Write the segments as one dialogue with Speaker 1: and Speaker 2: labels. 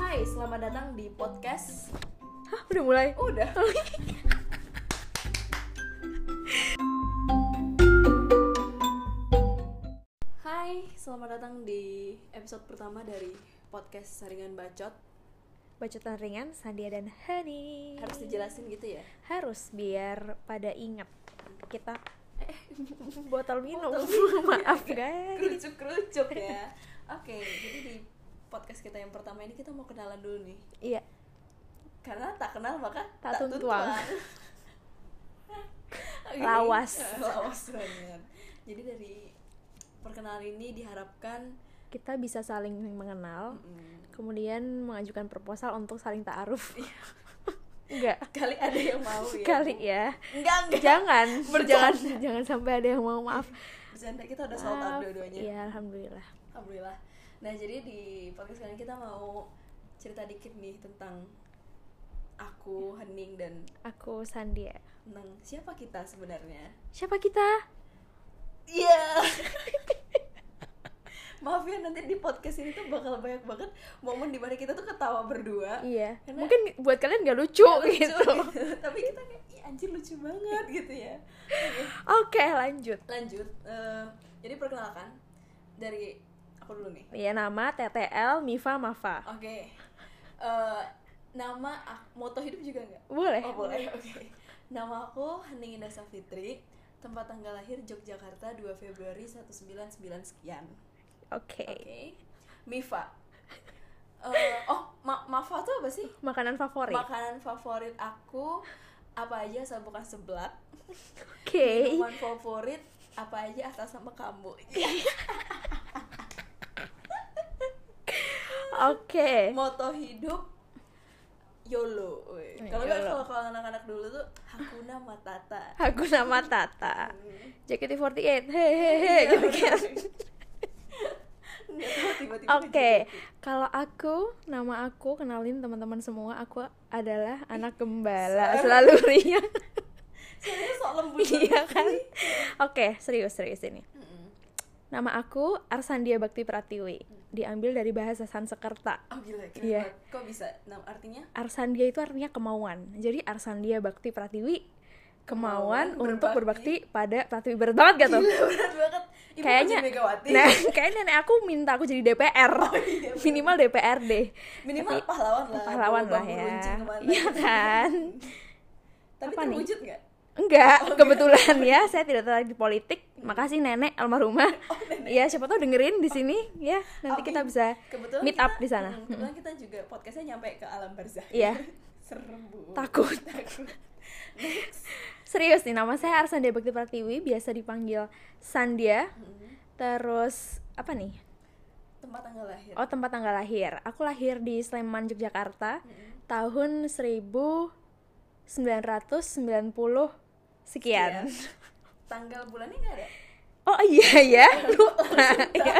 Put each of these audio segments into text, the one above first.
Speaker 1: Hai, selamat datang di podcast.
Speaker 2: Hah, udah mulai?
Speaker 1: Udah. Hai, selamat datang di episode pertama dari podcast Saringan Bacot.
Speaker 2: Bacotan ringan, Sandia dan Hani.
Speaker 1: Harus dijelasin gitu ya.
Speaker 2: Harus biar pada ingat kita
Speaker 1: Eh,
Speaker 2: botol minum.
Speaker 1: Botol minum.
Speaker 2: Maaf guys.
Speaker 1: kerucuk-kerucuk ya. Oke, jadi di podcast kita yang pertama ini kita mau kenalan dulu nih.
Speaker 2: Iya,
Speaker 1: Karena tak kenal maka
Speaker 2: Tak tuntuang.
Speaker 1: Oke.
Speaker 2: Lawas.
Speaker 1: Lawas banget. Jadi dari perkenalan ini diharapkan
Speaker 2: kita bisa saling mengenal, kemudian mengajukan proposal untuk saling ta'aruf.
Speaker 1: Iya.
Speaker 2: Enggak.
Speaker 1: kali ada yang mau ya.
Speaker 2: Kali ya.
Speaker 1: Enggak, enggak.
Speaker 2: Jangan,
Speaker 1: Bercanda.
Speaker 2: jangan jangan sampai ada yang mau maaf.
Speaker 1: Bercanda kita udah sold out
Speaker 2: Maaf.
Speaker 1: dua-duanya.
Speaker 2: Iya, alhamdulillah.
Speaker 1: Alhamdulillah. Nah, jadi di podcast kali ini kita mau cerita dikit nih tentang aku,
Speaker 2: Iya.
Speaker 1: Hening dan
Speaker 2: Aku Sandia.
Speaker 1: tentang siapa kita sebenarnya.
Speaker 2: Siapa kita?
Speaker 1: Iya. Maaf ya nanti di podcast ini tuh bakal banyak banget momen dimana kita tuh ketawa berdua.
Speaker 2: Iya.
Speaker 1: Karena-
Speaker 2: Mungkin buat kalian gak lucu,
Speaker 1: Lucu
Speaker 2: gitu.
Speaker 1: Tapi kita kayak "Ih, anjir lucu banget gitu ya. Oke,
Speaker 2: Oke, lanjut.
Speaker 1: lanjut. Eh, jadi perkenalkan dari aku dulu nih.
Speaker 2: Ya nama TTL Mifa Mafa.
Speaker 1: Oke. Eh, nama ak- moto hidup juga nggak?
Speaker 2: Eh, Boleh.
Speaker 1: Oh boleh. Oke. Nama aku Hening Indah Safitri. Tempat tanggal lahir Yogyakarta 2 Februari 199 sekian.
Speaker 2: Oke.
Speaker 1: Oke. Mifa. Eh, oh, ma Mafa tuh apa sih?
Speaker 2: Makanan favorit.
Speaker 1: Makanan favorit aku apa aja asal bukan seblak.
Speaker 2: Oke.
Speaker 1: Minuman favorit apa aja asal sama kamu.
Speaker 2: Eh. Oke.
Speaker 1: Moto hidup YOLO. weh.
Speaker 2: Eh,
Speaker 1: Kalau nggak
Speaker 2: YOLO.
Speaker 1: kalau kalau anak-anak dulu tuh Hakuna Matata.
Speaker 2: Aku nama Tata.
Speaker 1: Hmm. Iya.
Speaker 2: JKT48. Hehehe gitu kan.
Speaker 1: Nggak tahu, tiba-tiba
Speaker 2: Oke.
Speaker 1: jadi.
Speaker 2: Kalau aku, nama aku kenalin teman-teman semua, aku adalah anak gembala selalu ria.
Speaker 1: Soalnya sok lembut
Speaker 2: Iya
Speaker 1: banget
Speaker 2: kan?
Speaker 1: sih.
Speaker 2: Oke, serius-serius ini.
Speaker 1: Mm-mm.
Speaker 2: Nama aku Arsandia Bakti Pratiwi. Diambil dari bahasa Sansekerta.
Speaker 1: Oh gila, keren
Speaker 2: Iya.
Speaker 1: banget. Kok bisa? Nah, artinya
Speaker 2: Arsandia itu artinya kemauan. Jadi Arsandia Bakti Pratiwi kemauan
Speaker 1: Kemauan Oh,
Speaker 2: untuk
Speaker 1: berbakti.
Speaker 2: berbakti pada Pratiwi berat banget gak tuh?
Speaker 1: Gila, berat banget. Ibu
Speaker 2: Kayaknya-
Speaker 1: Haji Megawati.
Speaker 2: Nah, kayaknya nenek aku minta aku jadi DPR.
Speaker 1: iya, bener.
Speaker 2: Minimal DPRD.
Speaker 1: minimal pahlawan lah.
Speaker 2: Pahlawan
Speaker 1: bawa
Speaker 2: lah
Speaker 1: bambu
Speaker 2: ya.
Speaker 1: runcing kemana.
Speaker 2: Iya kan?
Speaker 1: Tapi
Speaker 2: Apa nih?
Speaker 1: terwujud nggak? Oh,
Speaker 2: Enggak,
Speaker 1: iya.
Speaker 2: kebetulan ya saya tidak tertarik di politik. Makasih nenek almarhumah. ya, siapa tahu dengerin di sini ya. Nanti
Speaker 1: Oh,
Speaker 2: kita
Speaker 1: iya.
Speaker 2: bisa
Speaker 1: Kebetulan
Speaker 2: meet
Speaker 1: kita-
Speaker 2: up di sana. Hmm.
Speaker 1: Mm, Kebetulan kita juga podcastnya nyampe ke alam barzah.
Speaker 2: Iya.
Speaker 1: Serem bu.
Speaker 2: Takut.
Speaker 1: Takut. Next.
Speaker 2: Serius nih, nama saya Arsandia Bakti Pratiwi, biasa dipanggil Sandia. Terus apa nih?
Speaker 1: Tempat tanggal lahir.
Speaker 2: Oh tempat tanggal lahir. Aku lahir di Sleman, Yogyakarta tahun 1990 sekian.
Speaker 1: Tanggal bulannya nggak ada.
Speaker 2: Oh iya ya, lupa ya.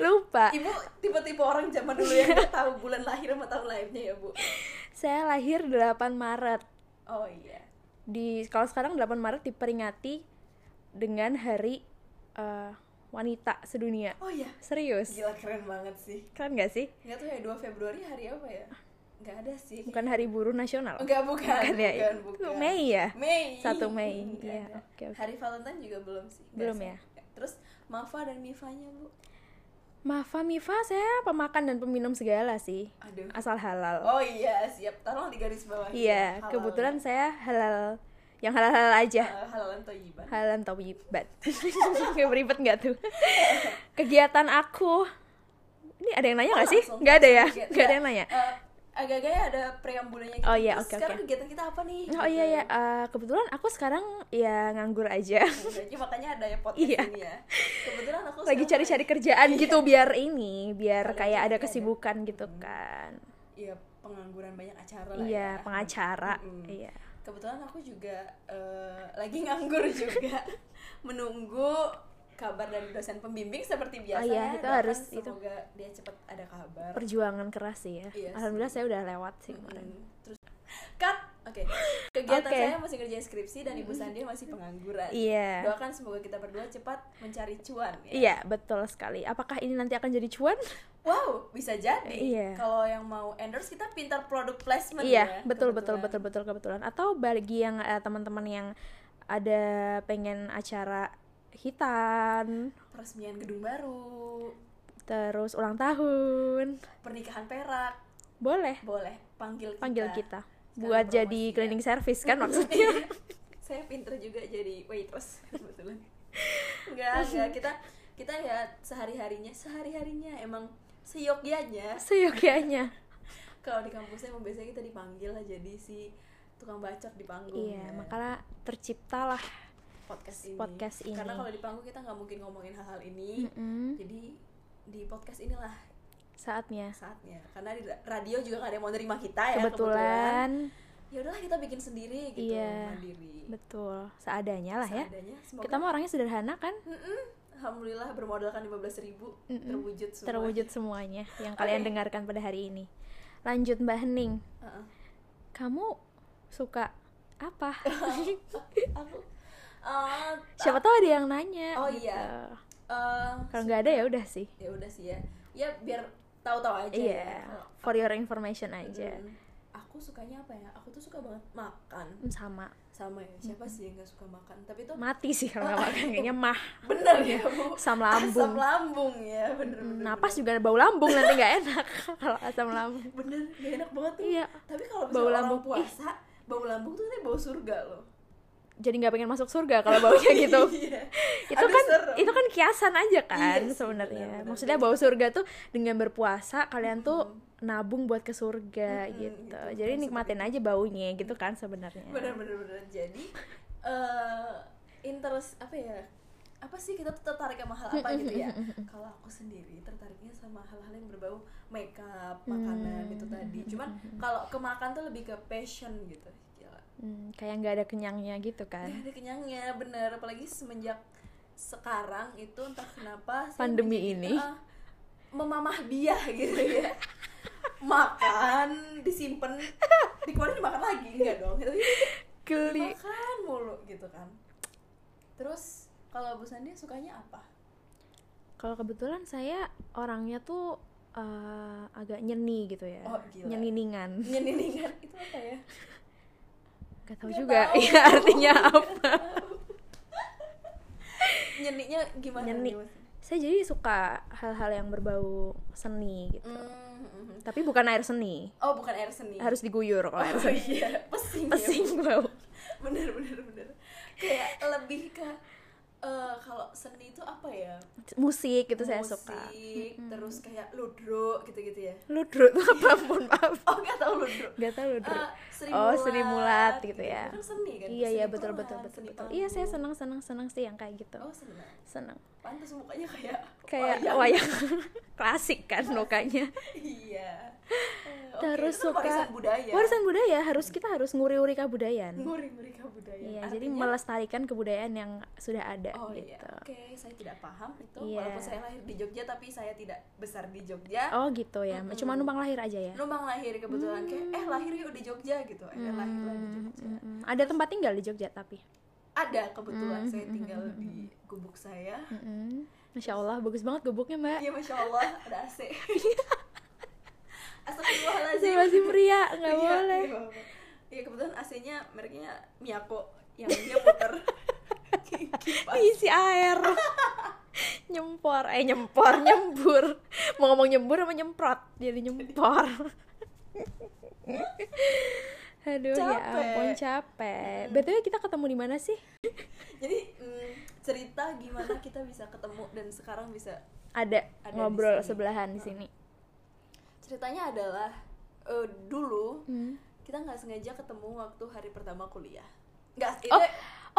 Speaker 2: Lupa.
Speaker 1: Ibu tipe-tipe orang zaman dulu yang nggak tahu bulan lahir sama tahun lahirnya ya bu.
Speaker 2: Saya lahir 8 Maret.
Speaker 1: Oh iya.
Speaker 2: Di kalau sekarang 8 Maret diperingati dengan Hari eh, Wanita Sedunia.
Speaker 1: Oh iya.
Speaker 2: Serius.
Speaker 1: Gila keren banget sih.
Speaker 2: Keren gak sih?
Speaker 1: Nggak tuh ya 2 Februari hari apa ya? Nggak ada sih.
Speaker 2: Bukan Hari Buruh Nasional.
Speaker 1: Enggak bukan.
Speaker 2: Bukan ya,
Speaker 1: bukan,
Speaker 2: itu
Speaker 1: bukan.
Speaker 2: Mei ya?
Speaker 1: Mei.
Speaker 2: 1 Mei.
Speaker 1: Hmm,
Speaker 2: Iya,
Speaker 1: ada.
Speaker 2: oke, oke.
Speaker 1: Hari Valentine juga belum sih.
Speaker 2: Belum
Speaker 1: Biasa.
Speaker 2: ya?
Speaker 1: Terus Mafa dan Mifanya, Bu.
Speaker 2: Mafa Mifa saya pemakan dan peminum segala sih.
Speaker 1: Aduh.
Speaker 2: Asal halal.
Speaker 1: Oh iya, siap. Taruh di garis bawah. Halal.
Speaker 2: iya,
Speaker 1: ya.
Speaker 2: kebetulan saya halal yang halal-halal aja.
Speaker 1: Eh, halalan thayyiban.
Speaker 2: Halal atau bat. Kayak beribet nggak tuh? Kegiatan aku. Ini ada yang nanya nggak sih?
Speaker 1: Langsung
Speaker 2: Nggak ada ya?
Speaker 1: kaget.
Speaker 2: Nggak ada yang nanya.
Speaker 1: Eh, agak-agak ya ada preambulnya gitu.
Speaker 2: Oh iya,
Speaker 1: Terus
Speaker 2: oke,
Speaker 1: Sekarang
Speaker 2: oke.
Speaker 1: kegiatan kita apa nih? Gitu.
Speaker 2: Oh iya ya, eh, kebetulan aku sekarang ya nganggur aja.
Speaker 1: Jadi makanya ada ya podcast
Speaker 2: Iya.
Speaker 1: ini ya. Kebetulan aku
Speaker 2: Lagi
Speaker 1: sekarang- Iya.
Speaker 2: cari-cari kerjaan gitu biar ini, biar
Speaker 1: Cari
Speaker 2: kayak ada
Speaker 1: kerjaan ya.
Speaker 2: kesibukan gitu kan.
Speaker 1: Iya, pengangguran banyak acara lah
Speaker 2: Iya,
Speaker 1: ya.
Speaker 2: pengacara.
Speaker 1: Mm-mm.
Speaker 2: Iya.
Speaker 1: kebetulan aku juga eh, lagi nganggur juga menunggu kabar dari dosen pembimbing seperti biasa ya.
Speaker 2: iya, itu
Speaker 1: Doakan
Speaker 2: harus, itu.
Speaker 1: semoga dia cepat ada kabar
Speaker 2: Perjuangan keras sih ya.
Speaker 1: Iya sih.
Speaker 2: Alhamdulillah saya udah lewat sih kemarin.
Speaker 1: Mm, terus Cut. Oke. Kegiatan
Speaker 2: Oke.
Speaker 1: saya masih ngerjain skripsi dan Ibu Sandi masih pengangguran.
Speaker 2: Iya.
Speaker 1: Doakan semoga kita berdua cepat mencari cuan. ya.
Speaker 2: Iya, betul sekali. Apakah ini nanti akan jadi cuan?
Speaker 1: Wow, bisa jadi.
Speaker 2: Iya.
Speaker 1: Kalau yang mau endorse kita pintar produk placement ya.
Speaker 2: Iya, betul betul
Speaker 1: kebetulan.
Speaker 2: betul betul kebetulan. Atau bagi yang eh, teman-teman yang ada pengen acara hitan,
Speaker 1: Peresmian gedung baru,
Speaker 2: terus ulang tahun,
Speaker 1: pernikahan perak,
Speaker 2: boleh
Speaker 1: boleh panggil kita.
Speaker 2: panggil kita
Speaker 1: Sekalian
Speaker 2: buat jadi
Speaker 1: promosi, ya.
Speaker 2: cleaning service kan maksudnya.
Speaker 1: saya pinter juga jadi waitress kebetulan enggak enggak kita kita ya sehari harinya sehari harinya emang seyogyanya
Speaker 2: Seyogyanya.
Speaker 1: kalau di kampus saya emang biasanya kita dipanggil lah jadi si tukang bacot di panggung
Speaker 2: Iya,
Speaker 1: ya,
Speaker 2: makanya terciptalah.
Speaker 1: podcast ini
Speaker 2: podcast ini.
Speaker 1: karena kalau di panggung kita nggak mungkin ngomongin hal-hal ini
Speaker 2: Mm-mm,
Speaker 1: jadi di podcast inilah
Speaker 2: saatnya.
Speaker 1: saatnya karena di radio juga nggak ada yang mau nerima kita ya kebetulan
Speaker 2: Kebetulan,
Speaker 1: ya udahlah kita bikin sendiri gitu
Speaker 2: Iya.
Speaker 1: mandiri
Speaker 2: betul. Seadanya lah ya.
Speaker 1: Seadanya, semoga
Speaker 2: Kita mah orangnya sederhana kan,
Speaker 1: Mm-mm. Alhamdulillah bermodalkan 15.000 ribu
Speaker 2: Mm-mm.
Speaker 1: terwujud semua.
Speaker 2: terwujud semuanya yang kalian
Speaker 1: Oke.
Speaker 2: dengarkan pada hari ini. Lanjut Mbak Hening.
Speaker 1: Heeh.
Speaker 2: kamu suka apa?
Speaker 1: Aku eh,
Speaker 2: Siapa tahu ada yang nanya.
Speaker 1: Oh,
Speaker 2: gitu.
Speaker 1: iya. eh,
Speaker 2: Kalau nggak ada ya udah sih.
Speaker 1: ya udah sih ya. Ya biar tahu-tahu aja.
Speaker 2: Iya,
Speaker 1: ya.
Speaker 2: for your information aja.
Speaker 1: Mm. Aku sukanya apa ya? Aku tuh suka banget makan.
Speaker 2: Hmm, Sama,
Speaker 1: Sama ya. Siapa sih yang gak suka makan? Tapi itu
Speaker 2: mati sih kalau nggak makan kayaknya mah.
Speaker 1: bener ya, Bu. Asam
Speaker 2: Asam lambung.
Speaker 1: lambung ya, bener
Speaker 2: Hmm,
Speaker 1: bener.
Speaker 2: Napas juga bau lambung nanti nggak enak kalau asam lambung.
Speaker 1: Bener, gak enak banget tuh.
Speaker 2: Iya.
Speaker 1: Tapi kalau
Speaker 2: Bau
Speaker 1: misalnya orang
Speaker 2: lambung. Ih.
Speaker 1: puasa, bau lambung tuh nanti bau surga loh.
Speaker 2: Jadi nggak pengen masuk surga kalau baunya gitu.
Speaker 1: Iya.
Speaker 2: itu
Speaker 1: Aduh,
Speaker 2: kan
Speaker 1: serem.
Speaker 2: itu kan kiasan aja kan
Speaker 1: Iya sih,
Speaker 2: sebenarnya.
Speaker 1: benar-benar.
Speaker 2: Maksudnya bau surga tuh dengan berpuasa kalian tuh nabung buat ke surga
Speaker 1: Mm-mm,
Speaker 2: gitu.
Speaker 1: gitu.
Speaker 2: Jadi
Speaker 1: Kan
Speaker 2: nikmatin aja baunya gitu kan sebenarnya.
Speaker 1: bener bener bener jadi eh interest apa ya apa sih kita tuh tertarik sama hal apa gitu ya kalau aku sendiri tertariknya sama hal-hal yang berbau makeup
Speaker 2: Hmm.
Speaker 1: makanan itu tadi cuman kalau ke makan tuh lebih ke passion gitu Gila.
Speaker 2: Hmm, kayak nggak ada kenyangnya gitu kan.
Speaker 1: Gak ada kenyangnya bener apalagi semenjak sekarang itu entah kenapa saya
Speaker 2: Pandemi
Speaker 1: menjadi,
Speaker 2: ini.
Speaker 1: eh, memamah biah gitu ya makan disimpan dikeluarin dimakan lagi enggak dong itu
Speaker 2: Geli.
Speaker 1: makan mulu gitu kan terus kalau Bu Sandi sukanya apa
Speaker 2: Kalau kebetulan saya orangnya tuh eh, agak nyeni gitu ya.
Speaker 1: Oh, gila.
Speaker 2: Nyeniningan.
Speaker 1: nyeniningan itu apa ya
Speaker 2: Gak tahu
Speaker 1: Nggak
Speaker 2: juga
Speaker 1: tahu.
Speaker 2: ya artinya apa.
Speaker 1: nyeniknya gimana
Speaker 2: Nyeni.
Speaker 1: nih, Mas?
Speaker 2: Saya jadi suka hal-hal yang berbau seni gitu.
Speaker 1: Mm, mm, mm.
Speaker 2: Tapi bukan air seni.
Speaker 1: oh bukan air seni
Speaker 2: Harus diguyur kalau
Speaker 1: oh
Speaker 2: air seni.
Speaker 1: iya pesing ya.
Speaker 2: Pesing bau.
Speaker 1: bener bener bener kayak lebih ke eh, kalau seni itu apa ya
Speaker 2: Musik gitu saya suka. Hmm.
Speaker 1: Musik, terus kayak ludro gitu-gitu ya
Speaker 2: Ludruk tuh apa pun maaf.
Speaker 1: oh nggak tahu ludro
Speaker 2: Gak tau ludruk.
Speaker 1: Eh, Sri
Speaker 2: Oh,
Speaker 1: Mulat,
Speaker 2: Sri Mulat gitu ya.
Speaker 1: Kan seni kan?
Speaker 2: Iya
Speaker 1: Seni
Speaker 2: iya betul
Speaker 1: peran,
Speaker 2: betul betul
Speaker 1: seni
Speaker 2: betul. Iya saya
Speaker 1: panggung.
Speaker 2: senang senang senang sih yang kayak gitu.
Speaker 1: Oh, senang.
Speaker 2: Senang.
Speaker 1: Pantas mukanya kayak
Speaker 2: Kayak
Speaker 1: wayang.
Speaker 2: wayang klasik kan mukanya.
Speaker 1: iya. Eh, oke,
Speaker 2: Terus
Speaker 1: itu kan
Speaker 2: suka
Speaker 1: warisan budaya.
Speaker 2: Warisan budaya harus kita harus nguri-uri kebudayaan.
Speaker 1: nguri-nguri budaya.
Speaker 2: Iya, jadi melestarikan kebudayaan yang sudah ada
Speaker 1: Oh
Speaker 2: gitu.
Speaker 1: iya. Oke, saya tidak paham itu.
Speaker 2: Iya.
Speaker 1: Walaupun saya lahir di Jogja tapi saya tidak besar di Jogja.
Speaker 2: Oh gitu ya.
Speaker 1: Mm-mm.
Speaker 2: Cuma numpang lahir aja ya.
Speaker 1: Numpang lahir kebetulan kayak eh
Speaker 2: Hmm.
Speaker 1: lahir yuk di Jogja gitu. Eh lahir lah di Jogja.
Speaker 2: Mm-mm. Ada tempat tinggal di Jogja tapi.
Speaker 1: Ada kebetulan
Speaker 2: Hmm,
Speaker 1: saya tinggal di gubuk saya.
Speaker 2: Mm-mm. Masya Allah bagus banget gubuknya mbak.
Speaker 1: Iya, Masya Allah, ada AC.
Speaker 2: Iya.
Speaker 1: Astagfirullahaladzim.
Speaker 2: Masih masih pria nggak
Speaker 1: Iya,
Speaker 2: boleh.
Speaker 1: nggak apa-apa. Iya, kebetulan AC-nya mereknya Miyako yang dia puter. Kipas.
Speaker 2: Diisi air. nyempor, eh nyempor, nyembur. Mau ngomong nyembur apa nyemprot? Jadi nyempor. Aduh ya
Speaker 1: Capek.
Speaker 2: ampun capek. Btw kita ketemu di mana sih?
Speaker 1: Jadi mm, cerita gimana kita bisa ketemu dan sekarang bisa
Speaker 2: Ada,
Speaker 1: Ada di
Speaker 2: ngobrol
Speaker 1: sini.
Speaker 2: sebelahan di sini.
Speaker 1: ceritanya adalah eh, dulu
Speaker 2: Hmm.
Speaker 1: kita nggak sengaja ketemu waktu hari pertama kuliah. Nggak, itu
Speaker 2: Oh,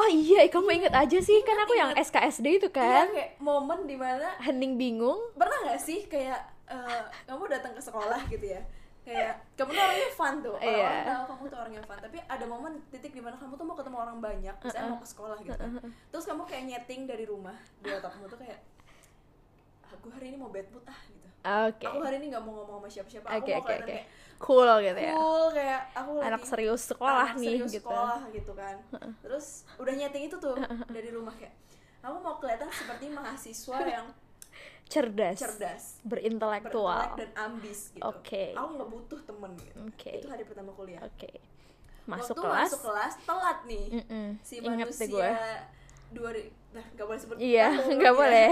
Speaker 2: oh iya, kamu inget aja sih kan aku yang SKSD itu
Speaker 1: iya,
Speaker 2: kan.
Speaker 1: kayak momen dimana
Speaker 2: Hening bingung.
Speaker 1: pernah nggak sih kayak eh, kamu datang ke sekolah gitu ya kayak kamu tuh orangnya fun tuh orang,
Speaker 2: Iya.
Speaker 1: tahu kamu tuh orangnya fun tapi ada momen titik dimana kamu tuh mau ketemu orang banyak misalnya mau ke sekolah gitu terus kamu kayak nyeting dari rumah di otakmu tuh kayak "Ah, aku hari ini mau bad mood ah gitu
Speaker 2: Oke.
Speaker 1: aku hari ini nggak mau ngomong sama siapa-siapa aku
Speaker 2: Oke
Speaker 1: mau
Speaker 2: oke
Speaker 1: kelihatan
Speaker 2: oke.
Speaker 1: kayak
Speaker 2: Cool gitu ya.
Speaker 1: cool kayak aku
Speaker 2: Anak
Speaker 1: lagi-
Speaker 2: serius sekolah
Speaker 1: anak
Speaker 2: nih
Speaker 1: serius
Speaker 2: gitu.
Speaker 1: sekolah gitu kan terus udah nyeting itu tuh dari rumah kayak kamu mau kelihatan seperti mahasiswa yang
Speaker 2: Cerdas.
Speaker 1: cerdas
Speaker 2: Berintelektual.
Speaker 1: berintelek dan ambis gitu
Speaker 2: Oke.
Speaker 1: aku nggak butuh temen gitu.
Speaker 2: Oke.
Speaker 1: itu hari pertama kuliah
Speaker 2: Oke.
Speaker 1: Waktu
Speaker 2: Masuk kelas.
Speaker 1: masuk kelas telat nih
Speaker 2: Mm-mm.
Speaker 1: si
Speaker 2: Ingat
Speaker 1: manusia
Speaker 2: deh gue.
Speaker 1: dua ri- nah nggak boleh sebut
Speaker 2: Iya,
Speaker 1: tahun
Speaker 2: nggak
Speaker 1: ya.
Speaker 2: boleh.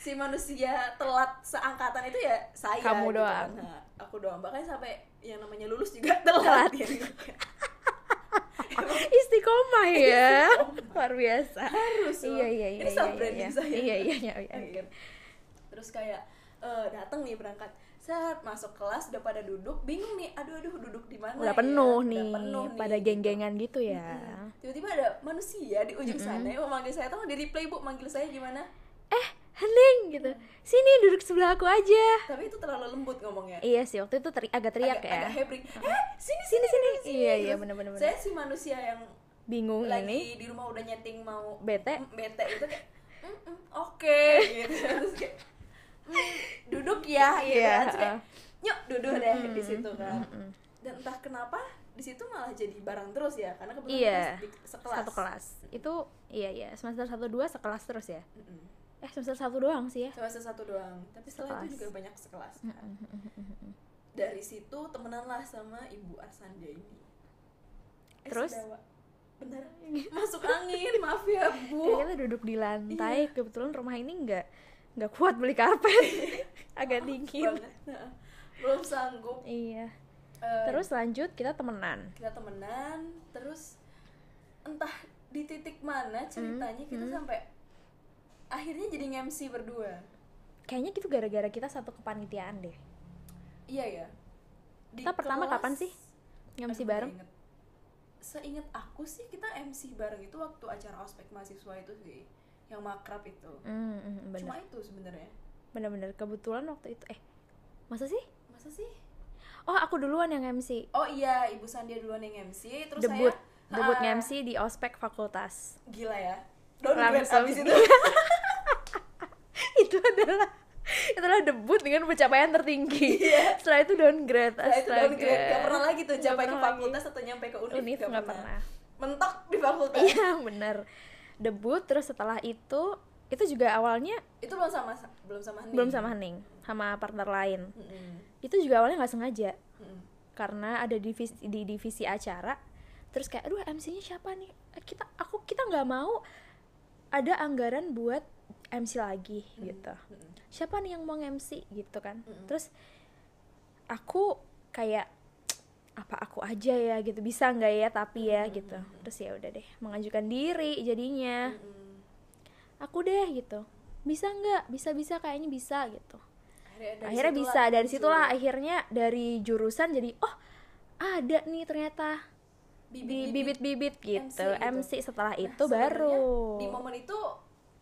Speaker 1: si manusia telat seangkatan itu ya saya
Speaker 2: Kamu
Speaker 1: gitu kan.
Speaker 2: doang.
Speaker 1: Nah, aku doang bahkan sampai yang namanya lulus juga telat,
Speaker 2: Telat. Istiqomah ya.
Speaker 1: Istiqomah.
Speaker 2: Luar biasa.
Speaker 1: harus loh.
Speaker 2: Iya iya iya.
Speaker 1: ini self
Speaker 2: iya,
Speaker 1: branding
Speaker 2: iya.
Speaker 1: saya
Speaker 2: Iya iya iya. iya,
Speaker 1: Oke.
Speaker 2: oke.
Speaker 1: terus kayak eh, datang nih berangkat set masuk kelas udah pada duduk bingung nih aduh aduh duduk di mana
Speaker 2: Udah
Speaker 1: ya?
Speaker 2: penuh
Speaker 1: Udah
Speaker 2: nih.
Speaker 1: penuh nih,
Speaker 2: Pada
Speaker 1: gitu.
Speaker 2: geng-gengan gitu ya.
Speaker 1: Mm-mm. tiba-tiba ada manusia di ujung sana yang memanggil saya tolong di replay bu manggil saya gimana
Speaker 2: Eh, Hening gitu.
Speaker 1: Iya.
Speaker 2: Sini duduk sebelah aku aja.
Speaker 1: tapi itu terlalu lembut ngomongnya
Speaker 2: Iya sih, waktu itu teri- agak teriak
Speaker 1: agak,
Speaker 2: ya.
Speaker 1: agak hebring eh sini
Speaker 2: Sini,
Speaker 1: sini
Speaker 2: sini.
Speaker 1: duduk sini
Speaker 2: Iya, iya,
Speaker 1: Terus
Speaker 2: bener-bener.
Speaker 1: saya si manusia yang
Speaker 2: Bingung ini.
Speaker 1: lagi di rumah udah nyeting mau
Speaker 2: Bete.
Speaker 1: mm, bete itu kayak mm, mm, oke gitu terus kayak mm, duduk ya gitu
Speaker 2: Iya, Hmm,
Speaker 1: kan. Terus kayak,
Speaker 2: ah.
Speaker 1: nyok duduk deh di situ kan
Speaker 2: Mm-mm.
Speaker 1: dan entah kenapa di situ malah jadi barang terus ya karena kebetulan
Speaker 2: Iya.
Speaker 1: kita di- sekelas
Speaker 2: Satu kelas. Itu iya iya, semester 1 2 sekelas terus ya.
Speaker 1: Mm-mm.
Speaker 2: Eh, semester 1 doang sih ya.
Speaker 1: semester satu doang tapi setelah itu
Speaker 2: Sekelas.
Speaker 1: juga banyak sekelas kan. dari situ temenanlah sama ibu Arsanda ini Eh,
Speaker 2: Terus?
Speaker 1: Sendawa. bener masuk angin maaf ya
Speaker 2: Kayak
Speaker 1: bu
Speaker 2: kita duduk di
Speaker 1: Iya.
Speaker 2: lantai, kebetulan rumah ini nggak nggak kuat beli karpet. agak dingin.
Speaker 1: Banget. Nah, belum sanggup
Speaker 2: Iya.
Speaker 1: Eh,
Speaker 2: Terus lanjut kita temenan.
Speaker 1: kita temenan terus entah di titik mana ceritanya kita
Speaker 2: Hmm,
Speaker 1: sampai akhirnya jadi MC berdua
Speaker 2: Kayaknya itu gara-gara kita satu kepanitiaan deh.
Speaker 1: iya ya Di
Speaker 2: Kita pertama
Speaker 1: kelas-
Speaker 2: kapan sih?
Speaker 1: Aduh, iya.
Speaker 2: Ngemsi
Speaker 1: nggak
Speaker 2: bareng.
Speaker 1: inget. seingat aku sih kita MC bareng itu waktu acara ospek mahasiswa itu sih yang makrab itu
Speaker 2: Hmm, hmm, bener.
Speaker 1: cuma itu sebenarnya
Speaker 2: Bener-bener kebetulan waktu itu eh masa sih?
Speaker 1: masa sih
Speaker 2: Oh, aku duluan yang MC.
Speaker 1: oh iya ibu Sandia duluan yang MC terus
Speaker 2: debut
Speaker 1: saya
Speaker 2: debut
Speaker 1: Ah,
Speaker 2: nge-MC di ospek fakultas
Speaker 1: gila ya downgrade
Speaker 2: Langsung.
Speaker 1: abis itu
Speaker 2: itu adalah itu adalah debut dengan pencapaian tertinggi
Speaker 1: Iya.
Speaker 2: setelah itu downgrade
Speaker 1: Setelah Nah, itu downgrade gak pernah lagi tuh
Speaker 2: Nggak
Speaker 1: capai ke
Speaker 2: pernah
Speaker 1: fakultas atau nyampe ke
Speaker 2: lagi.
Speaker 1: univ,
Speaker 2: univ
Speaker 1: nggak
Speaker 2: nggak pernah
Speaker 1: mentok di fakultas
Speaker 2: iya benar debut terus setelah itu itu juga awalnya
Speaker 1: itu belum sama belum sama Hening.
Speaker 2: belum sama Hening sama partner lain
Speaker 1: Mm-mm.
Speaker 2: itu juga awalnya nggak sengaja
Speaker 1: Mm-mm.
Speaker 2: karena ada divisi di divisi acara terus kayak aduh MC-nya siapa nih Eh, kita aku kita nggak mau ada anggaran buat MC lagi
Speaker 1: Hmm.
Speaker 2: gitu
Speaker 1: Mm-mm.
Speaker 2: siapa nih yang mau MC gitu kan
Speaker 1: Mm-mm.
Speaker 2: terus aku kayak apa aku aja ya gitu bisa nggak ya tapi ya gitu terus ya udah deh mengajukan diri jadinya
Speaker 1: Mm-mm.
Speaker 2: aku deh gitu bisa nggak bisa bisa kayaknya bisa gitu
Speaker 1: akhirnya, dari
Speaker 2: akhirnya
Speaker 1: situlah
Speaker 2: bisa dari
Speaker 1: muncul
Speaker 2: situlah akhirnya dari jurusan jadi oh ada nih ternyata di
Speaker 1: bibit-bibit
Speaker 2: bibit-bibit gitu
Speaker 1: MC gitu.
Speaker 2: MC setelah
Speaker 1: Nah,
Speaker 2: itu
Speaker 1: sebenarnya
Speaker 2: baru
Speaker 1: di momen itu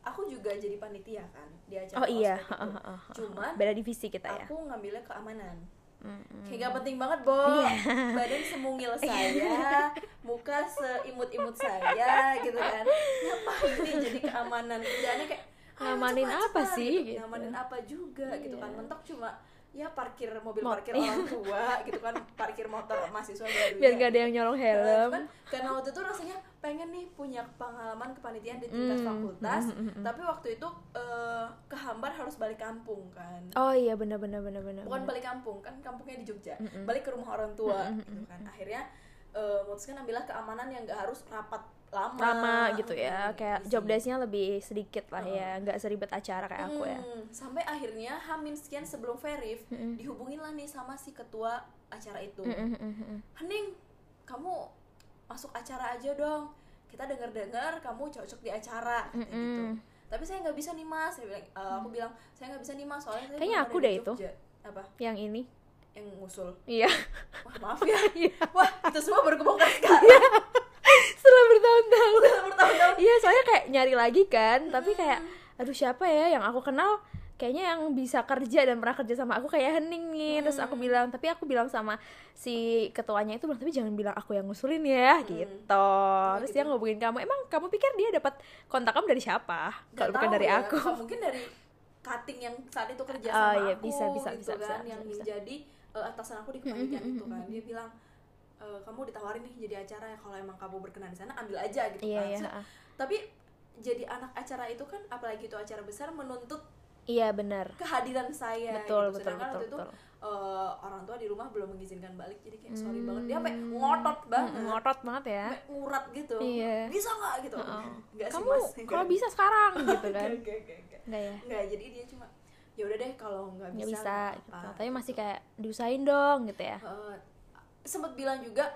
Speaker 1: aku juga jadi panitia kan di acara
Speaker 2: oh iya
Speaker 1: ospek itu. cuman
Speaker 2: beda divisi kita ya Hmm.
Speaker 1: aku ngambilnya keamanan
Speaker 2: Mm-mm.
Speaker 1: kayak gak penting banget bo
Speaker 2: Iya.
Speaker 1: badan semungil saya muka seimut-imut saya gitu kan ngapain nih jadi keamanan kerjaannya kayak ah,
Speaker 2: Ngamanin
Speaker 1: cepat,
Speaker 2: apa
Speaker 1: cepat,
Speaker 2: sih,
Speaker 1: gitu.
Speaker 2: gitu.
Speaker 1: ngamanin apa juga gitu kan
Speaker 2: Iya.
Speaker 1: mentok cuma ya parkir mobil
Speaker 2: Mot-
Speaker 1: parkir orang tua gitu kan parkir motor mahasiswa baru
Speaker 2: biar gak ada yang nyolong helm
Speaker 1: Cuman karena waktu itu rasanya pengen nih punya pengalaman kepanitiaan di tingkat
Speaker 2: Hmm.
Speaker 1: fakultas
Speaker 2: Hmm, hmm, hmm, hmm.
Speaker 1: tapi waktu itu eh, kehambar harus balik kampung kan
Speaker 2: oh iya bener bener bener bener
Speaker 1: bukan
Speaker 2: bener.
Speaker 1: balik kampung kan kampungnya di Jogja
Speaker 2: Mm-mm.
Speaker 1: balik ke rumah orang tua
Speaker 2: Mm-mm,
Speaker 1: gitu kan akhirnya eh, memutuskan ambillah keamanan yang gak harus rapat lama
Speaker 2: lama gitu ya
Speaker 1: Mm,
Speaker 2: kayak
Speaker 1: easy.
Speaker 2: job desk-nya lebih sedikit lah
Speaker 1: Heeh.
Speaker 2: ya nggak seribet acara kayak aku ya
Speaker 1: Hmm, sampai akhirnya Hamin sekian sebelum verif
Speaker 2: Mm-mm.
Speaker 1: dihubungin lah nih sama si ketua acara itu
Speaker 2: Mm-mm, mm-mm, mm-mm.
Speaker 1: Hening, kamu masuk acara aja dong. Kita dengar-dengar kamu cocok di acara katanya
Speaker 2: Mm-mm.
Speaker 1: gitu. Tapi saya nggak bisa nih mas. Saya bilang, eh, aku bilang saya nggak bisa nih mas soalnya saya
Speaker 2: Kayaknya
Speaker 1: belum
Speaker 2: aku
Speaker 1: ada di
Speaker 2: deh itu.
Speaker 1: Jogja." Apa?
Speaker 2: yang ini
Speaker 1: Yang ngusul.
Speaker 2: iya
Speaker 1: Wah maaf ya.
Speaker 2: Iya.
Speaker 1: Wah itu semua baru kebongkar sekarang.
Speaker 2: setelah bertahun-tahun
Speaker 1: Udah bertahun-tahun. Hmm,
Speaker 2: Iya soalnya kayak nyari lagi kan Tapi kayak aduh siapa ya yang aku kenal Kayaknya yang bisa kerja dan pernah kerja sama aku kayak Hening nih Terus aku
Speaker 1: Hmm.
Speaker 2: bilang Tapi aku bilang sama si ketuanya itu bilang Tapi jangan bilang aku yang ngusulin ya
Speaker 1: Hmm.
Speaker 2: gitu
Speaker 1: Iya,
Speaker 2: Terus dia ngubungin kamu Emang kamu pikir dia dapat kontak kamu dari siapa?
Speaker 1: Nggak
Speaker 2: Kalau bukan
Speaker 1: tahu
Speaker 2: dari
Speaker 1: ya,
Speaker 2: aku
Speaker 1: apa Mungkin dari cutting yang saat itu kerja
Speaker 2: Oh,
Speaker 1: sama
Speaker 2: iya,
Speaker 1: aku
Speaker 2: bisa, bisa,
Speaker 1: gitu
Speaker 2: bisa,
Speaker 1: kan
Speaker 2: bisa,
Speaker 1: yang
Speaker 2: bisa, bisa.
Speaker 1: menjadi eh, atasan aku di kepanitiaan
Speaker 2: Mm-mm,
Speaker 1: itu kan dia bilang e, kamu ditawarin nih jadi acara ya kalau emang kamu berkenan di sana ambil aja gitu
Speaker 2: iya
Speaker 1: kan
Speaker 2: iya
Speaker 1: Set.
Speaker 2: ah.
Speaker 1: tapi jadi anak acara itu kan apalagi itu acara besar menuntut
Speaker 2: iya benar
Speaker 1: kehadiran saya
Speaker 2: betul
Speaker 1: gitu.
Speaker 2: betul
Speaker 1: sedangkan
Speaker 2: betul
Speaker 1: waktu itu
Speaker 2: betul
Speaker 1: eh, orang tua di rumah belum mengizinkan balik jadi kayak sorry
Speaker 2: Hmm.
Speaker 1: banget dia sampai ngotot banget
Speaker 2: Mm, ngotot banget ya
Speaker 1: sampai ngurat gitu
Speaker 2: Iya.
Speaker 1: bisa nggak gitu
Speaker 2: Heeh.
Speaker 1: nggak sih
Speaker 2: kamu
Speaker 1: mas kan.
Speaker 2: kalau bisa sekarang gitu
Speaker 1: Nggak,
Speaker 2: kan
Speaker 1: nggak, nggak, nggak.
Speaker 2: enggak ya
Speaker 1: Nggak, jadi dia cuma ya udah deh kalau nggak bisa
Speaker 2: nggak bisa
Speaker 1: nggak
Speaker 2: gitu.
Speaker 1: apa-apa."
Speaker 2: tapi masih kayak diusahain dong gitu ya
Speaker 1: Eh, sempet bilang juga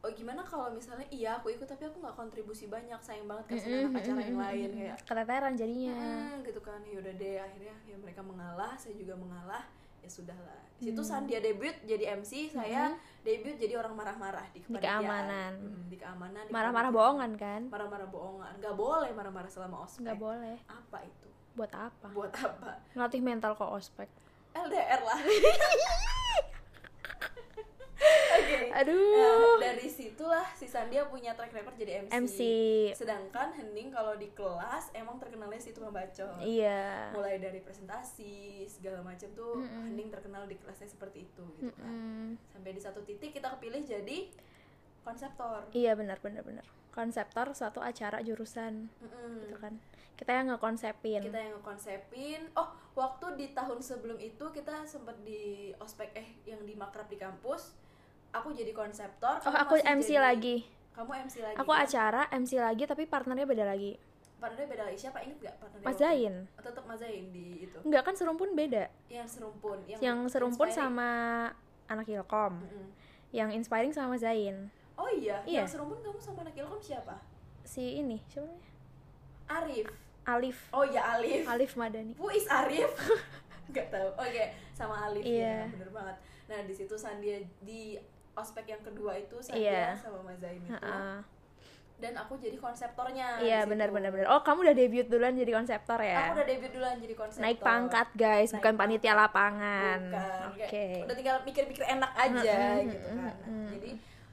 Speaker 1: oh gimana kalau misalnya iya aku ikut tapi aku nggak kontribusi banyak sayang banget kasihan anak acara yang lain kayak
Speaker 2: keteteran jadinya
Speaker 1: "Mm-mm," gitu kan ya udah deh akhirnya ya mereka mengalah saya juga mengalah ya sudahlah Di situ
Speaker 2: Mm.
Speaker 1: saat dia debut jadi MC saya debut jadi orang marah-marah di kepanitiaan
Speaker 2: keamanan.
Speaker 1: Mm, di keamanan di
Speaker 2: marah-marah
Speaker 1: kepanitiaan.
Speaker 2: bohongan kan
Speaker 1: marah-marah bohongan nggak boleh marah-marah selama ospek
Speaker 2: nggak boleh
Speaker 1: apa itu
Speaker 2: buat apa
Speaker 1: buat apa
Speaker 2: ngelatih mental kok ospek
Speaker 1: LDR lah Oke. Nah,
Speaker 2: aduh
Speaker 1: dari situlah si Sandia punya track record jadi MC.
Speaker 2: MC
Speaker 1: Sedangkan Hening kalau di kelas emang terkenalnya situ membaca.
Speaker 2: iya
Speaker 1: Mulai dari presentasi segala macam tuh Hening terkenal di kelasnya seperti itu gitu kan.
Speaker 2: Mm,
Speaker 1: Sampai di satu titik kita kepilih jadi konseptor.
Speaker 2: iya benar benar benar konseptor suatu acara jurusan
Speaker 1: Mm-mm.
Speaker 2: gitu kan kita yang ngekonsepin
Speaker 1: Mm. Kita yang ngekonsepin. Oh, waktu di tahun sebelum itu kita sempet di ospek eh yang di makrab di kampus. Aku jadi konseptor.
Speaker 2: oh
Speaker 1: kamu
Speaker 2: aku
Speaker 1: masih
Speaker 2: MC
Speaker 1: jadi-
Speaker 2: lagi
Speaker 1: Kamu MC lagi.
Speaker 2: aku
Speaker 1: kan?
Speaker 2: acara MC lagi tapi partnernya beda lagi
Speaker 1: partnernya beda lagi siapa inget gak partnernya
Speaker 2: Mas
Speaker 1: waktu itu?
Speaker 2: Zain
Speaker 1: tetap Mas Zain di itu
Speaker 2: enggak kan serumpun beda
Speaker 1: yang serumpun
Speaker 2: yang serumpun
Speaker 1: inspiring. Mm.
Speaker 2: sama anak ilkom
Speaker 1: Mm-mm.
Speaker 2: yang inspiring sama Zain
Speaker 1: oh iya, yang
Speaker 2: Iya.
Speaker 1: serumpun kamu sama anak ilkom siapa
Speaker 2: si ini siapa namanya
Speaker 1: Arif
Speaker 2: Alif
Speaker 1: oh iya Alif
Speaker 2: Alif Madani
Speaker 1: Puis Arif nggak tahu oke sama Alif
Speaker 2: Iya.
Speaker 1: ya bener banget nah di situ Sandia di ospek yang kedua itu
Speaker 2: Iya.
Speaker 1: Sandia sama Mas Zain itu
Speaker 2: Heeh.
Speaker 1: dan aku jadi konseptornya
Speaker 2: Gitu ya? iya
Speaker 1: Nah, di
Speaker 2: benar
Speaker 1: situ.
Speaker 2: benar benar oh kamu udah debut duluan jadi konseptor
Speaker 1: aku
Speaker 2: ya
Speaker 1: udah debut duluan jadi konseptor
Speaker 2: naik pangkat guys
Speaker 1: Naik
Speaker 2: bukan panitia lapangan
Speaker 1: bukan
Speaker 2: oke
Speaker 1: kayak udah tinggal mikir-mikir enak aja
Speaker 2: Mm-mm,
Speaker 1: gitu kan
Speaker 2: mm-mm.
Speaker 1: jadi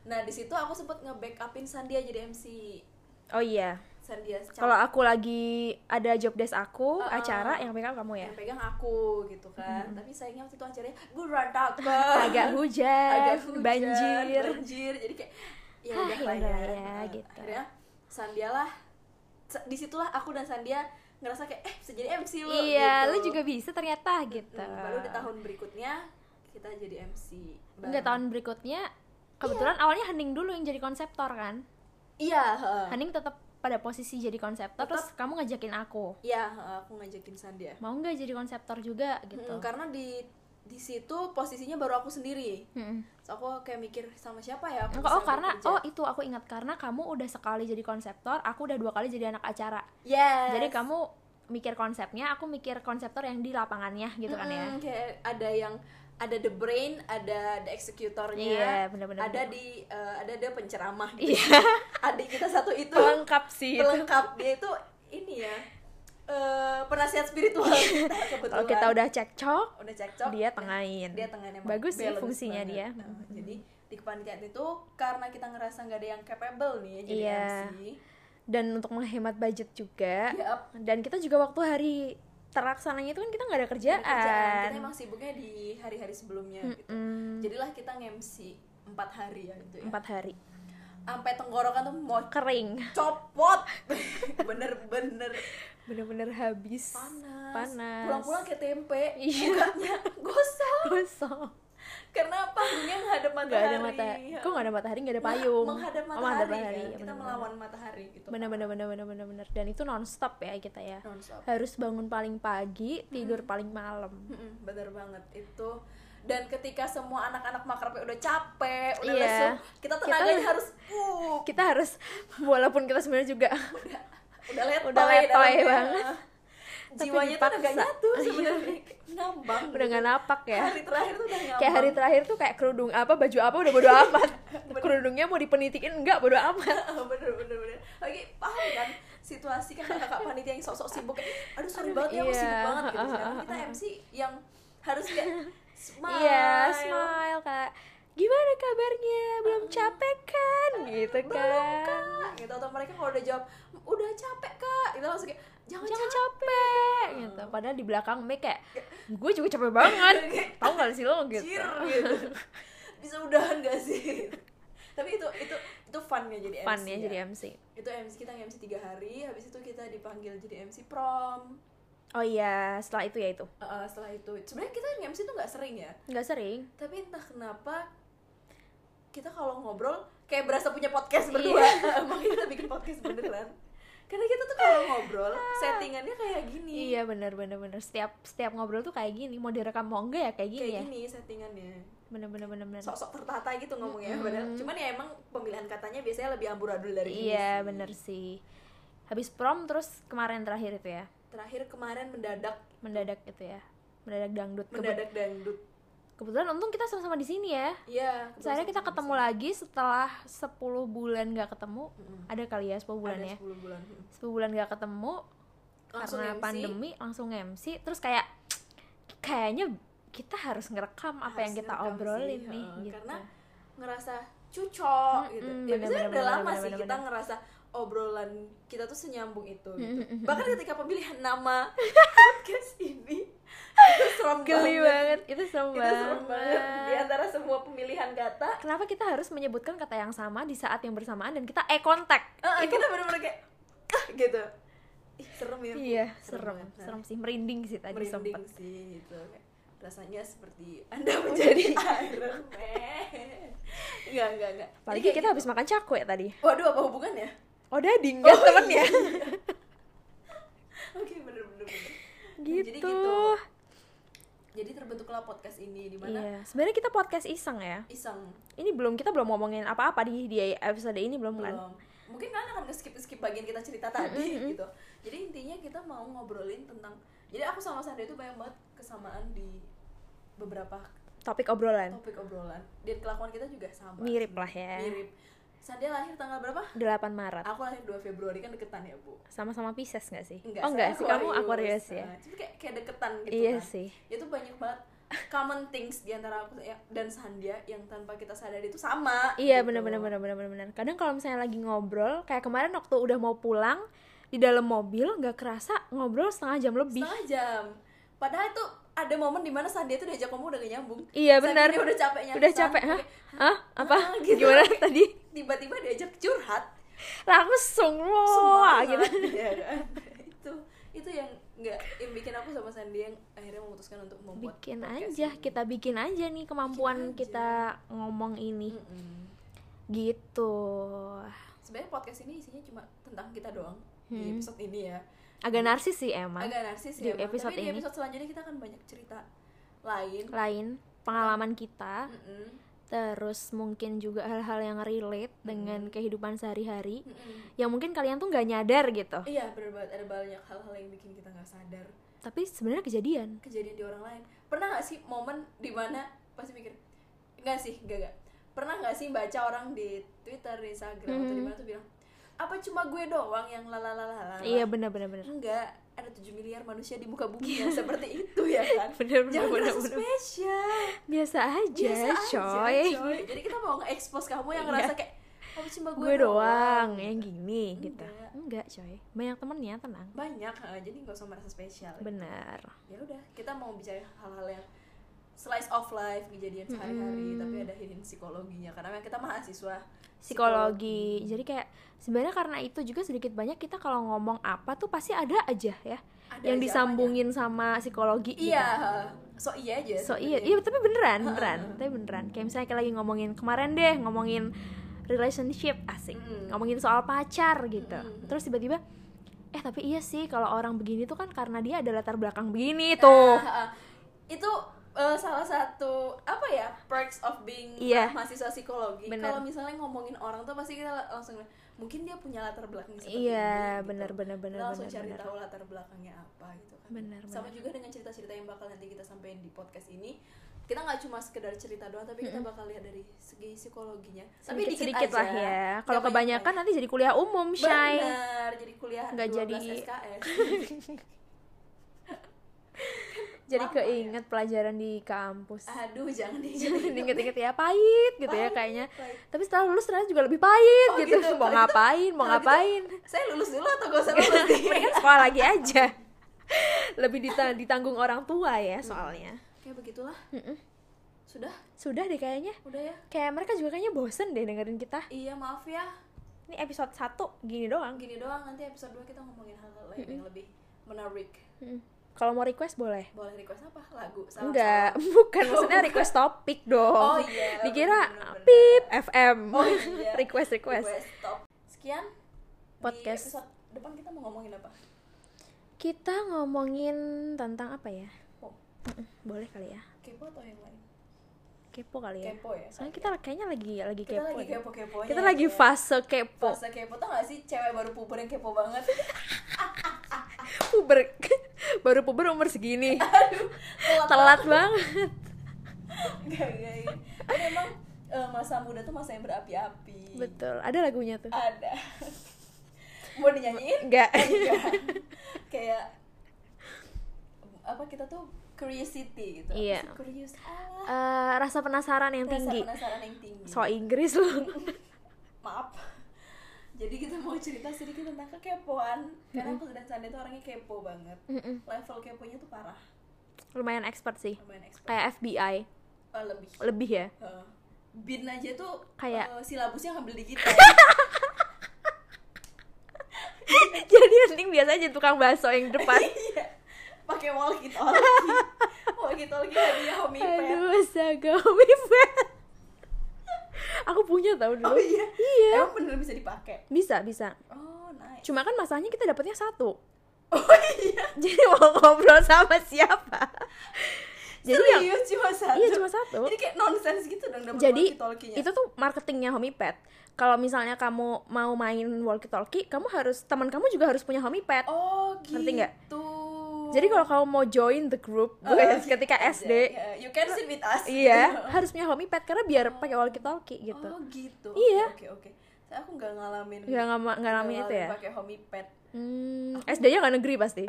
Speaker 1: nah di situ aku sempet nge-backupin Sandia jadi MC
Speaker 2: oh iya
Speaker 1: Sandia
Speaker 2: kalau
Speaker 1: secara
Speaker 2: aku lagi ada job desk aku
Speaker 1: Heeh.
Speaker 2: acara yang pegang kamu ya
Speaker 1: yang pegang aku gitu kan tapi sayangnya waktu itu acaranya berantakan
Speaker 2: agak hujan,
Speaker 1: Agak hujan,
Speaker 2: banjir
Speaker 1: banjir jadi kayak ya
Speaker 2: Hah,
Speaker 1: udah
Speaker 2: ya
Speaker 1: lah ya,
Speaker 2: udah ya,
Speaker 1: Nah,
Speaker 2: gitu.
Speaker 1: akhirnya Sandia lah sa- disitulah aku dan Sandia ngerasa kayak eh bisa jadi MC lu
Speaker 2: iya lu
Speaker 1: gitu.
Speaker 2: juga bisa ternyata gitu
Speaker 1: Hmm, baru di tahun berikutnya kita jadi MC
Speaker 2: Enggak
Speaker 1: Bareng.
Speaker 2: tahun berikutnya kebetulan awalnya Hening dulu yang jadi konseptor kan.
Speaker 1: iya heeh.
Speaker 2: Hening tetap pada posisi jadi konseptor
Speaker 1: Tetep.
Speaker 2: terus kamu ngajakin aku.
Speaker 1: Iya, heeh, aku ngajakin Sandia.
Speaker 2: Mau nggak jadi konseptor juga
Speaker 1: Mm,
Speaker 2: gitu.
Speaker 1: karena di di situ posisinya baru aku sendiri.
Speaker 2: Mm-mm.
Speaker 1: Terus aku kayak mikir sama siapa ya aku
Speaker 2: Enggak, oh
Speaker 1: bisa
Speaker 2: karena
Speaker 1: bekerja.
Speaker 2: oh itu aku ingat karena kamu udah sekali jadi konseptor, aku udah dua kali jadi anak acara.
Speaker 1: Yes.
Speaker 2: Jadi kamu mikir konsepnya, aku mikir konseptor yang di lapangannya gitu kan ya.
Speaker 1: Mm, kayak ada yang ada the brain, ada the executornya.
Speaker 2: Iya, benar-benar.
Speaker 1: Ada di eh, ada dia penceramah. gitu.
Speaker 2: Iya, gitu.
Speaker 1: Adik kita satu itu
Speaker 2: lengkap sih. itu.
Speaker 1: pelengkap dia itu ini ya. eh penasihat spiritual kita kebetulan.
Speaker 2: Iya. Kalau kita udah cekcok,
Speaker 1: udah cekcok
Speaker 2: dia tengahin.
Speaker 1: dia tengahnya emang
Speaker 2: Bagus sih
Speaker 1: balance
Speaker 2: fungsinya
Speaker 1: banget.
Speaker 2: dia. Hmm.
Speaker 1: Nah, jadi di kepanitiaan itu karena kita ngerasa nggak ada yang capable nih ya, jadi
Speaker 2: Iya.
Speaker 1: MC
Speaker 2: Dan untuk menghemat budget juga.
Speaker 1: Yap.
Speaker 2: dan kita juga waktu hari terlaksananya itu kan kita nggak ada
Speaker 1: Ada
Speaker 2: kerjaan,
Speaker 1: kerjaan. kita emang sibuknya di hari-hari sebelumnya gitu
Speaker 2: kan. Mm-mm.
Speaker 1: jadilah kita nge-MC empat hari ya gitu ya
Speaker 2: empat hari
Speaker 1: sampai tenggorokan tuh mau
Speaker 2: kering
Speaker 1: copot bener-bener
Speaker 2: bener-bener habis
Speaker 1: panas
Speaker 2: Panas.
Speaker 1: pulang-pulang kayak tempe
Speaker 2: Iya.
Speaker 1: mukanya gosong
Speaker 2: kosong
Speaker 1: karena panggungnya ngadep
Speaker 2: nggak
Speaker 1: matahari iya.
Speaker 2: ada matahari kok nggak ada matahari nggak ada
Speaker 1: menghadap
Speaker 2: payung Oh,
Speaker 1: matahari,
Speaker 2: menghadap
Speaker 1: kan?
Speaker 2: matahari, ya,
Speaker 1: kita
Speaker 2: bener-bener.
Speaker 1: melawan matahari gitu
Speaker 2: bener bener bener bener bener bener dan itu nonstop ya kita ya
Speaker 1: nonstop Hmm.
Speaker 2: harus bangun paling pagi tidur paling malam
Speaker 1: Mm-mm, bener banget itu dan ketika semua anak-anak makrabnya udah capek udah
Speaker 2: Iya.
Speaker 1: lesu kita tenaganya harus uh
Speaker 2: kita harus walaupun kita sebenarnya juga
Speaker 1: udah letoy
Speaker 2: Udah letoy
Speaker 1: dalamnya.
Speaker 2: banget.
Speaker 1: jiwanya tuh udah gak
Speaker 2: dipaksa. Iya.
Speaker 1: nyatu sebenarnya ngambang
Speaker 2: udah nggak napak ya
Speaker 1: hari terakhir tuh udah ngambang
Speaker 2: kayak hari terakhir tuh kayak kerudung apa baju apa udah bodo amat kerudungnya mau dipenitikin enggak bodo amat
Speaker 1: bener bener bener lagi paham kan situasi kan kakak panitia yang sok-sok sibuk kayak, aduh sorry banget ya aku
Speaker 2: iya.
Speaker 1: sibuk banget gitu
Speaker 2: Ah,
Speaker 1: Sedangkan
Speaker 2: ah,
Speaker 1: kita MC yang harus kayak smile
Speaker 2: Iya, smile kak. Gimana kabarnya? Belum capek kan? Gitu
Speaker 1: Hmm. belum
Speaker 2: kan?
Speaker 1: kak gitu atau mereka kalau udah jawab udah capek kak itu langsung kayak Jangan Hmm.
Speaker 2: jangan capek, gitu padahal di belakang mic kayak gue juga capek banget tau gak sih lo gitu
Speaker 1: Cir, gitu. bisa udahan gak sih tapi itu itu itu funnya jadi
Speaker 2: fun
Speaker 1: MC
Speaker 2: ya jadi MC
Speaker 1: itu MC kita MC tiga hari habis itu kita dipanggil jadi MC prom
Speaker 2: oh iya setelah itu ya itu
Speaker 1: Uh, setelah itu sebenarnya kita MC tuh nggak sering ya
Speaker 2: nggak sering
Speaker 1: tapi entah kenapa kita kalau ngobrol kayak berasa punya
Speaker 2: Iya.
Speaker 1: podcast berdua makanya kita bikin podcast beneran karena kita tuh kalau ngobrol settingannya kayak gini
Speaker 2: Ah. iya bener bener bener setiap setiap ngobrol tuh kayak gini mau direkam mau enggak ya kayak gini
Speaker 1: kayak
Speaker 2: ya
Speaker 1: gini settingannya
Speaker 2: bener bener bener bener
Speaker 1: sok-sok tertata gitu ngomongnya padahal cuman ya emang pemilihan katanya biasanya lebih amburadul dari ini
Speaker 2: iya
Speaker 1: sih.
Speaker 2: bener sih habis prom terus kemarin terakhir itu ya
Speaker 1: terakhir kemarin mendadak
Speaker 2: mendadak itu ya mendadak dangdut Kebe-
Speaker 1: mendadak dangdut
Speaker 2: kebetulan untung kita sama-sama di sini ya
Speaker 1: iya kebetulan
Speaker 2: Saya kita
Speaker 1: sama-
Speaker 2: ketemu lagi setelah 10 bulan nggak ketemu
Speaker 1: Mm-mm.
Speaker 2: ada kali ya 10 bulan
Speaker 1: ada
Speaker 2: ya
Speaker 1: 10 bulan Mm.
Speaker 2: 10 bulan nggak ketemu
Speaker 1: langsung
Speaker 2: karena
Speaker 1: MC,
Speaker 2: pandemi langsung MC terus kayak kayaknya kita harus ngerekam apa yang
Speaker 1: harus
Speaker 2: kita
Speaker 1: ngerekam
Speaker 2: obrolin
Speaker 1: sih,
Speaker 2: nih
Speaker 1: heeh.
Speaker 2: gitu.
Speaker 1: karena ngerasa cucok
Speaker 2: Mm-mm,
Speaker 1: gitu ya
Speaker 2: bener-bener,
Speaker 1: biasanya udah
Speaker 2: bener-bener,
Speaker 1: lama sih kita
Speaker 2: bener-bener.
Speaker 1: ngerasa obrolan kita tuh senyambung itu gitu.
Speaker 2: Mm-mm.
Speaker 1: bahkan ketika pemilihan nama podcast ini itu serem banget
Speaker 2: geli banget itu serem
Speaker 1: itu serem banget Iya. di
Speaker 2: banget
Speaker 1: antara semua pemilihan kata
Speaker 2: kenapa kita harus menyebutkan kata yang sama di saat yang bersamaan dan kita eye contact
Speaker 1: eh, kita bener-bener kayak "Ah," gitu Ih, serem ya
Speaker 2: iya
Speaker 1: serem
Speaker 2: serem
Speaker 1: banget. Nah,
Speaker 2: serem sih merinding sih tadi
Speaker 1: merinding
Speaker 2: sempet Oh,
Speaker 1: sih itu Kayak rasanya seperti anda menjadi Iron Man enggak enggak enggak Jadi
Speaker 2: apalagi
Speaker 1: kayak
Speaker 2: kita
Speaker 1: gitu.
Speaker 2: habis makan cakwe tadi
Speaker 1: waduh apa hubungannya
Speaker 2: oh dading kan temennya
Speaker 1: oke bener bener bener
Speaker 2: gitu,
Speaker 1: Jadi gitu. jadi terbentuklah podcast ini di mana
Speaker 2: Iya, sebenarnya kita podcast iseng ya.
Speaker 1: iseng
Speaker 2: Ini belum kita belum ngomongin apa-apa di di episode ini belum kan?
Speaker 1: belum mungkin kalian akan skip skip bagian kita cerita tadi gitu jadi intinya kita mau ngobrolin tentang jadi aku sama Sandra itu banyak banget kesamaan di beberapa
Speaker 2: Topik obrolan
Speaker 1: topik obrolan dan kelakuan kita juga sama
Speaker 2: mirip lah ya.
Speaker 1: mirip Sandra lahir tanggal berapa
Speaker 2: 8 Maret.
Speaker 1: Aku lahir 2 Februari kan deketan ya, Bu.
Speaker 2: Sama-sama Pisces nggak sih?
Speaker 1: Enggak,
Speaker 2: oh enggak
Speaker 1: saya
Speaker 2: sih, kamu Aquarius ya.
Speaker 1: Nah, Tapi kayak, kayak deketan gitu
Speaker 2: iya
Speaker 1: kan.
Speaker 2: sih.
Speaker 1: Itu banyak banget common things di antara aku ya- dan Sandia yang tanpa kita sadari itu sama.
Speaker 2: Iya
Speaker 1: gitu.
Speaker 2: bener bener bener bener bener bener. Kadang kalau misalnya lagi ngobrol, kayak kemarin waktu udah mau pulang di dalam mobil nggak kerasa ngobrol setengah jam lebih.
Speaker 1: Setengah jam. Padahal itu ada momen dimana Sandia tuh diajak ngomong udah gak nyambung.
Speaker 2: Iya
Speaker 1: Saking
Speaker 2: benar.
Speaker 1: dia udah ya, capeknya.
Speaker 2: Udah capek, hah? Hah? Apa?
Speaker 1: Ah, gitu.
Speaker 2: Gimana tadi?
Speaker 1: Tiba-tiba diajak curhat.
Speaker 2: Langsung wah
Speaker 1: Semua
Speaker 2: gitu.
Speaker 1: Iya kan? itu itu yang nggak yang bikin aku sama Sandia yang akhirnya memutuskan untuk membuat
Speaker 2: bikin
Speaker 1: podcast
Speaker 2: aja
Speaker 1: ini.
Speaker 2: kita bikin aja nih kemampuan
Speaker 1: aja. Hmm.
Speaker 2: kita ngomong ini
Speaker 1: Mm-mm.
Speaker 2: gitu
Speaker 1: sebenarnya podcast ini isinya cuma tentang kita doang di
Speaker 2: Hmm.
Speaker 1: episode ini ya
Speaker 2: agak narsis sih emang
Speaker 1: agak narsis
Speaker 2: di
Speaker 1: ya emang.
Speaker 2: episode
Speaker 1: tapi di
Speaker 2: ini.
Speaker 1: episode selanjutnya kita akan banyak cerita lain
Speaker 2: lain pengalaman kita
Speaker 1: Mm-mm.
Speaker 2: terus mungkin juga hal-hal yang relate dengan kehidupan sehari-hari
Speaker 1: Mm-mm.
Speaker 2: yang mungkin kalian tuh nggak nyadar gitu
Speaker 1: iya bener banget ada banyak hal-hal yang bikin kita nggak sadar
Speaker 2: tapi sebenarnya kejadian
Speaker 1: kejadian di orang lain pernah nggak sih momen dimana pasti mikir nggak sih nggak nggak pernah nggak sih baca orang di Twitter di Instagram atau di
Speaker 2: Mm.
Speaker 1: mana tuh bilang apa cuma gue doang yang lalalalala
Speaker 2: iya bener-bener bener
Speaker 1: enggak ada 7 miliar manusia di muka bumi yang seperti itu ya kan
Speaker 2: bener bener
Speaker 1: jangan
Speaker 2: bener,
Speaker 1: merasa
Speaker 2: bener.
Speaker 1: spesial
Speaker 2: biasa aja
Speaker 1: Biasa aja,
Speaker 2: coy
Speaker 1: coy. Jadi kita mau nge-expose kamu yang
Speaker 2: Iya.
Speaker 1: ngerasa kayak kamu cuma gue,
Speaker 2: gue doang yang gini gitu
Speaker 1: Enggak.
Speaker 2: enggak coy banyak temennya tenang
Speaker 1: Banyak, eh, jadi nggak usah merasa spesial.
Speaker 2: bener
Speaker 1: Ya udah, kita mau bicara hal-hal yang slice of life kejadian sehari-hari
Speaker 2: Mm-mm.
Speaker 1: tapi ada hidden psikologinya karena memang kita mahasiswa
Speaker 2: psikologi. Jadi kayak sebenarnya karena itu juga sedikit banyak kita kalau ngomong apa tuh pasti ada aja ya
Speaker 1: Ada
Speaker 2: yang
Speaker 1: aja
Speaker 2: disambungin sama psikologi.
Speaker 1: apanya. iya so iya aja
Speaker 2: gitu. So
Speaker 1: sebenarnya.
Speaker 2: iya, iya tapi beneran, beneran,
Speaker 1: Heeh.
Speaker 2: tapi beneran. Kayak misalnya kita lagi ngomongin kemarin deh ngomongin relationship asik,
Speaker 1: Mm.
Speaker 2: ngomongin soal pacar gitu.
Speaker 1: Mm-mm.
Speaker 2: Terus tiba-tiba eh tapi iya sih kalau orang begini tuh kan karena dia ada latar belakang begini tuh.
Speaker 1: Ah, ah. itu eh, salah satu apa ya perks of being
Speaker 2: Iya.
Speaker 1: mahasiswa psikologi
Speaker 2: Bener.
Speaker 1: kalau misalnya ngomongin orang tuh pasti kita langsung mungkin dia punya latar belakang seperti
Speaker 2: iya,
Speaker 1: ini, gitu.
Speaker 2: bener bener bener
Speaker 1: Kita langsung
Speaker 2: bener,
Speaker 1: cari
Speaker 2: bener.
Speaker 1: tahu latar belakangnya apa gitu kan
Speaker 2: Bener,
Speaker 1: sama
Speaker 2: bener.
Speaker 1: juga dengan cerita-cerita yang bakal nanti kita sampaikan di podcast ini kita nggak cuma sekedar cerita doang tapi kita bakal lihat dari segi psikologinya tapi
Speaker 2: Sedikit,
Speaker 1: dikit,
Speaker 2: sedikit
Speaker 1: aja,
Speaker 2: lah ya. Kalau
Speaker 1: jangan
Speaker 2: kebanyakan nanti jadi kuliah umum,
Speaker 1: banyak-banyak.
Speaker 2: Shay.
Speaker 1: bener jadi kuliah
Speaker 2: Nggak
Speaker 1: 12
Speaker 2: jadi-
Speaker 1: SKS
Speaker 2: jadi
Speaker 1: Lama ya?
Speaker 2: keinget pelajaran di kampus
Speaker 1: aduh jangan
Speaker 2: jadi
Speaker 1: diinget
Speaker 2: inget-inget ya pahit gitu ya
Speaker 1: Pahit,
Speaker 2: kayaknya
Speaker 1: pahit.
Speaker 2: tapi setelah lulus ternyata juga lebih pahit
Speaker 1: Oh,
Speaker 2: gitu.
Speaker 1: gitu. Kalau
Speaker 2: mau
Speaker 1: gitu-
Speaker 2: ngapain
Speaker 1: kalau
Speaker 2: mau
Speaker 1: gitu-
Speaker 2: ngapain Iya.
Speaker 1: saya lulus dulu atau gak usah lulus nih?
Speaker 2: mendingan sekolah lagi aja lebih dita- ditanggung orang tua ya soalnya
Speaker 1: kayak begitulah
Speaker 2: Mm-mm.
Speaker 1: sudah
Speaker 2: sudah deh kayaknya
Speaker 1: udah ya
Speaker 2: kayak mereka juga kayaknya bosen deh dengerin kita
Speaker 1: iya maaf ya
Speaker 2: ini episode 1 gini doang
Speaker 1: gini doang nanti episode 2 kita ngomongin hal lain yang lebih menarik
Speaker 2: Mm. kalau mau request boleh
Speaker 1: boleh request apa lagu salam
Speaker 2: enggak
Speaker 1: salam.
Speaker 2: bukan maksudnya request topik dong
Speaker 1: Oh, iya,
Speaker 2: dikira
Speaker 1: bener-bener.
Speaker 2: pip fm
Speaker 1: Oh, iya.
Speaker 2: request request
Speaker 1: request top sekian
Speaker 2: Podcast.
Speaker 1: di episode depan kita mau ngomongin apa
Speaker 2: kita ngomongin tentang apa ya
Speaker 1: oh,
Speaker 2: Mm-mm, boleh kali ya
Speaker 1: kepo atau yang lain
Speaker 2: kepo kali ya
Speaker 1: kepo ya
Speaker 2: soalnya kita kayaknya lagi lagi
Speaker 1: kita
Speaker 2: kepo
Speaker 1: lagi
Speaker 2: deh.
Speaker 1: kepo Iya, keponya
Speaker 2: kita lagi fase kepo
Speaker 1: fase kepo tau gak sih cewek baru puber yang kepo banget
Speaker 2: puber baru puber umur segini
Speaker 1: banget.
Speaker 2: telat banget
Speaker 1: Gak, gak, gak. Tapi iya, emang eh, masa muda tuh masa yang berapi-api
Speaker 2: betul ada lagunya tuh
Speaker 1: ada mau dinyanyiin
Speaker 2: enggak
Speaker 1: Enggak. kayak apa kita tuh curiosity gitu Apa
Speaker 2: Iya.
Speaker 1: sih curious ah,
Speaker 2: Eh, rasa penasaran yang
Speaker 1: rasa
Speaker 2: tinggi
Speaker 1: penasaran yang tinggi
Speaker 2: so Inggris lu
Speaker 1: maaf jadi kita mau cerita sedikit tentang kekepoan karena aku dan Sandi tuh orangnya kepo banget
Speaker 2: Mm-mm.
Speaker 1: level keponya tuh parah
Speaker 2: lumayan expert sih
Speaker 1: lumayan expert
Speaker 2: kayak FBI
Speaker 1: Oh, lebih
Speaker 2: lebih ya
Speaker 1: Heeh. bin aja tuh
Speaker 2: Kayak-
Speaker 1: eh, silabusnya ngambil di kita
Speaker 2: jadi mending biasa aja tukang bakso yang depan
Speaker 1: Iya. pakai walkie talkie walkie talkie hadiah homie pet
Speaker 2: aduh astaga Wifet. aku punya tau dulu
Speaker 1: oh iya
Speaker 2: Iya.
Speaker 1: emang bener bisa dipakai
Speaker 2: bisa bisa
Speaker 1: oh nice
Speaker 2: cuma kan masalahnya kita dapatnya satu
Speaker 1: oh iya
Speaker 2: jadi mau ngobrol sama siapa jadi yang
Speaker 1: serius cuma satu
Speaker 2: iya cuma satu
Speaker 1: jadi kayak nonsense gitu dong dapet
Speaker 2: jadi
Speaker 1: walkie-talkie-nya.
Speaker 2: itu tuh marketingnya homipet kalau misalnya kamu mau main walkie talkie kamu harus teman kamu juga harus punya homipet
Speaker 1: oh gitu
Speaker 2: Ngerti nggak? jadi
Speaker 1: jadi
Speaker 2: kalau kamu mau join the group
Speaker 1: Oh,
Speaker 2: gue ya,
Speaker 1: iya,
Speaker 2: ketika SD
Speaker 1: you can sit with us
Speaker 2: iya harus punya homipet karena biar pakai walkie talkie gitu
Speaker 1: oh iya. gitu
Speaker 2: Iya.
Speaker 1: oke oke Saya aku nggak ngalamin
Speaker 2: nggak ngama nggak ngalamin itu ya
Speaker 1: pakai homie pet
Speaker 2: hmm, SD nya nggak negeri pasti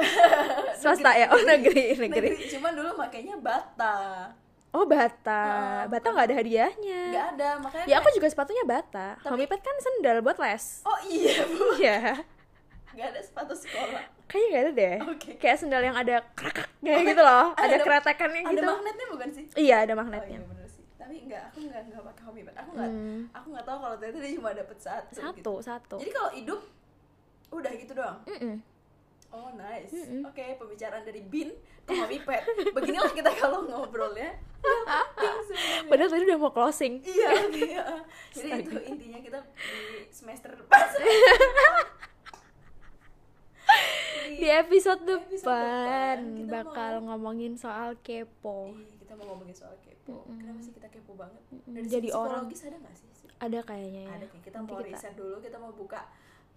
Speaker 2: swasta ya oh negeri negeri
Speaker 1: Negeri, cuman dulu makainya bata
Speaker 2: oh bata bata nggak ada hadiahnya
Speaker 1: Ah, nggak ada makanya
Speaker 2: ya aku juga sepatunya bata homipet kan sendal buat les
Speaker 1: oh iya bu
Speaker 2: iya
Speaker 1: nggak ada sepatu sekolah
Speaker 2: Kayaknya gak ada deh.
Speaker 1: Oke.
Speaker 2: Kayak sendal yang ada krakak kayak gitu loh.
Speaker 1: ada-
Speaker 2: Ada, keretakannya
Speaker 1: ada
Speaker 2: gitu.
Speaker 1: magnetnya bukan sih
Speaker 2: Iya, ada
Speaker 1: oh iya
Speaker 2: magnetnya.
Speaker 1: bener sih tapi nggak aku nggak nggak pakai homie pet aku nggak aku nggak tahu kalau ternyata dia cuma dapet satu gitu.
Speaker 2: Satu, Hmm. satu.
Speaker 1: jadi kalau hidup udah gitu doang
Speaker 2: Mm-mm.
Speaker 1: oh nice
Speaker 2: Hmm,
Speaker 1: oke pembicaraan dari bin ke homie pet beginilah kita kalau ngobrol ya Penting sebenarnya.
Speaker 2: Padahal tadi udah mau closing.
Speaker 1: iya iya jadi itu intinya kita di semester depan
Speaker 2: Di episode depan,
Speaker 1: Iya, episode depan, kita
Speaker 2: bakal ngomongin soal kepo.
Speaker 1: Iya, kita mau ngomongin soal kepo kenapa sih kita kepo banget dari
Speaker 2: Jadi
Speaker 1: segi
Speaker 2: orang.
Speaker 1: psikologis ada nggak sih
Speaker 2: Ada kayaknya ya.
Speaker 1: ada kayak kita
Speaker 2: Nanti
Speaker 1: mau
Speaker 2: kita-
Speaker 1: riset dulu kita mau buka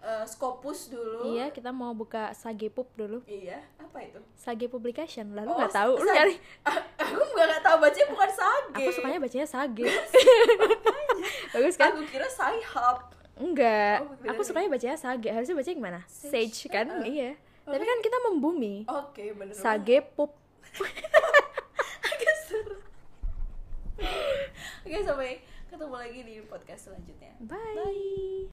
Speaker 1: eh, Scopus dulu
Speaker 2: Iya, kita mau buka Sage Pub dulu.
Speaker 1: Iya, apa itu
Speaker 2: Sage Publication. Lalu
Speaker 1: Oh,
Speaker 2: nggak tahu, lu
Speaker 1: sa-
Speaker 2: nyari.
Speaker 1: A- aku nggak nggak tahu bacanya bukan sage
Speaker 2: Aku sukanya bacanya Sage. Bagus kan?
Speaker 1: aku kira sahab
Speaker 2: Enggak.
Speaker 1: Oh, beda
Speaker 2: Aku
Speaker 1: nih.
Speaker 2: sukanya bacanya Sage. Harusnya bacanya gimana?
Speaker 1: Sage.
Speaker 2: Sage kan?
Speaker 1: Uh-uh.
Speaker 2: Iya. Tapi kan kita membumi.
Speaker 1: oke bener
Speaker 2: Sage Pub.
Speaker 1: Agak seru. oke sampai ketemu lagi di podcast selanjutnya
Speaker 2: Bye.